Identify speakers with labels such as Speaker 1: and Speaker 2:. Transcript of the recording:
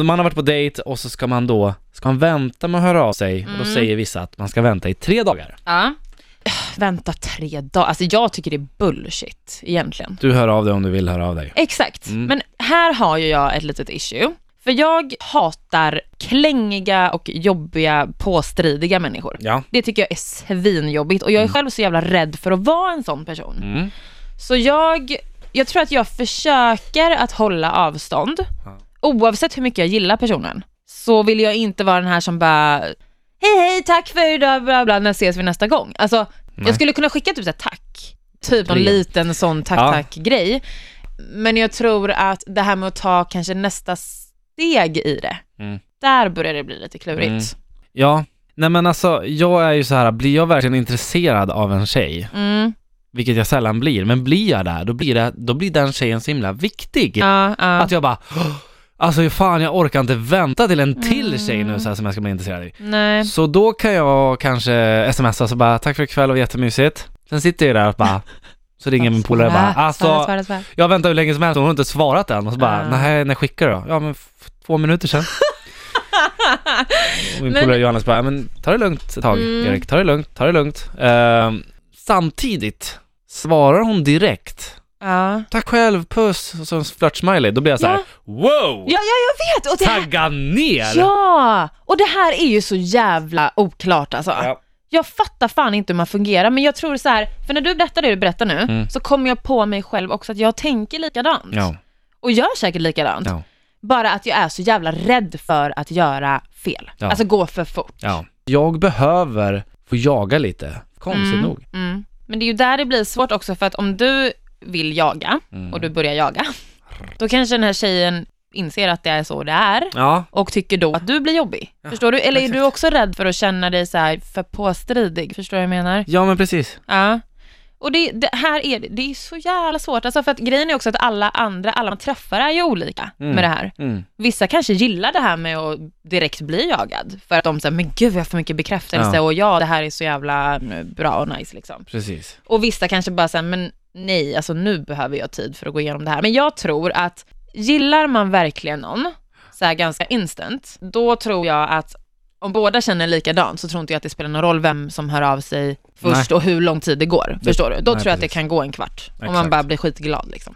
Speaker 1: när man har varit på dejt och så ska man då, ska man vänta med att höra av sig och då
Speaker 2: Mm.
Speaker 1: säger vissa att man ska vänta i tre dagar.
Speaker 2: Ja. Vänta tre dagar, alltså jag tycker det är bullshit egentligen.
Speaker 1: Du hör av dig om du vill höra av dig.
Speaker 2: Exakt,
Speaker 1: Mm.
Speaker 2: men här har ju jag ett litet issue. För jag hatar klängiga och jobbiga, påstridiga människor.
Speaker 1: Ja.
Speaker 2: Det tycker jag är svinjobbigt och jag är själv så jävla rädd för att vara en sån person.
Speaker 1: Mm.
Speaker 2: Så jag, jag tror att jag försöker att hålla avstånd.
Speaker 1: Ja.
Speaker 2: Oavsett hur mycket jag gillar personen så vill jag inte vara den här som bara Hej hej, tack för idag, bla bla, när ses vi nästa gång? Alltså,
Speaker 1: Nej.
Speaker 2: jag skulle kunna skicka typ så här, tack. Typ någon
Speaker 1: Brev.
Speaker 2: liten sån tack
Speaker 1: Ja.
Speaker 2: tack grej. Men jag tror att det här med att ta kanske nästa steg i det,
Speaker 1: Mm.
Speaker 2: där börjar det bli lite klurigt.
Speaker 1: Mm. Ja, nej men alltså jag är ju så här, blir jag verkligen intresserad av en tjej,
Speaker 2: Mm.
Speaker 1: vilket jag sällan blir, men blir jag där, då blir, det, då blir den tjejen så himla viktig.
Speaker 2: Ja, ja.
Speaker 1: Att jag bara, "Åh, alltså fan jag orkar inte vänta till en till tjej nu så här, som jag ska bli intresserad i.
Speaker 2: Nej.
Speaker 1: Så då kan jag kanske smsa så bara, tack för ikväll, det var jättemysigt. Sen sitter jag där och bara, så ringer min polare och bara,
Speaker 2: Svara, svara,
Speaker 1: alltså
Speaker 2: svara, svara.
Speaker 1: jag väntar hur länge som helst och hon har inte svarat än. Och så bara,
Speaker 2: Ah.
Speaker 1: nej, när skickar du då? Ja men f- två minuter sedan. Och min
Speaker 2: Men-
Speaker 1: polare Johannes bara, men ta det lugnt ett tag
Speaker 2: Mm.
Speaker 1: Erik, ta det lugnt, ta det lugnt. Ehm, samtidigt svarar hon direkt,
Speaker 2: Ja.
Speaker 1: tack själv, puss, och så en flört-smiley. Då blir jag så här,
Speaker 2: Ja.
Speaker 1: wow!
Speaker 2: Ja, ja, jag vet! Och det här,
Speaker 1: Tagga ner!
Speaker 2: ja! Och det här är ju så jävla oklart alltså.
Speaker 1: Ja.
Speaker 2: Jag fattar fan inte hur man fungerar, men jag tror så här, för när du berättar det du berättar nu,
Speaker 1: Mm.
Speaker 2: så kommer jag på mig själv också att jag tänker likadant.
Speaker 1: Ja.
Speaker 2: Och gör säkert likadant.
Speaker 1: Ja.
Speaker 2: Bara att jag är så jävla rädd för att göra fel.
Speaker 1: Ja.
Speaker 2: Alltså gå för fort.
Speaker 1: ja. Jag behöver få jaga lite, konstigt
Speaker 2: Mm,
Speaker 1: nog.
Speaker 2: Mm. Men det är ju där det blir svårt också, för att om du vill jaga
Speaker 1: Mm.
Speaker 2: och du börjar jaga, då kanske den här tjejen inser att det är så det är.
Speaker 1: Ja,
Speaker 2: och tycker då att du blir jobbig. förstår du? Eller är du också rädd för att känna dig så här för påstridig? Förstår du vad jag menar?
Speaker 1: ja men precis.
Speaker 2: Ja. Och det, det här är, det är så jävla svårt, alltså för att grejen är också att alla andra, alla man träffar är ju olika
Speaker 1: Mm.
Speaker 2: med det här.
Speaker 1: Mm.
Speaker 2: Vissa kanske gillar det här med att direkt bli jagad, för att de säger men gud jag har för mycket bekräftelse
Speaker 1: Ja.
Speaker 2: och ja det här är så jävla mm, bra och nice liksom.
Speaker 1: Precis.
Speaker 2: Och vissa kanske bara säger, men nej, alltså nu behöver jag tid för att gå igenom det här. Men jag tror att gillar man verkligen någon, så här ganska instant, då tror jag att om båda känner likadant så tror inte jag att det spelar någon roll vem som hör av sig först och hur lång tid det går. Förstår du? Då
Speaker 1: nej,
Speaker 2: tror jag att det
Speaker 1: precis.
Speaker 2: kan gå en kvart. Om man
Speaker 1: Exakt.
Speaker 2: bara blir skitglad liksom.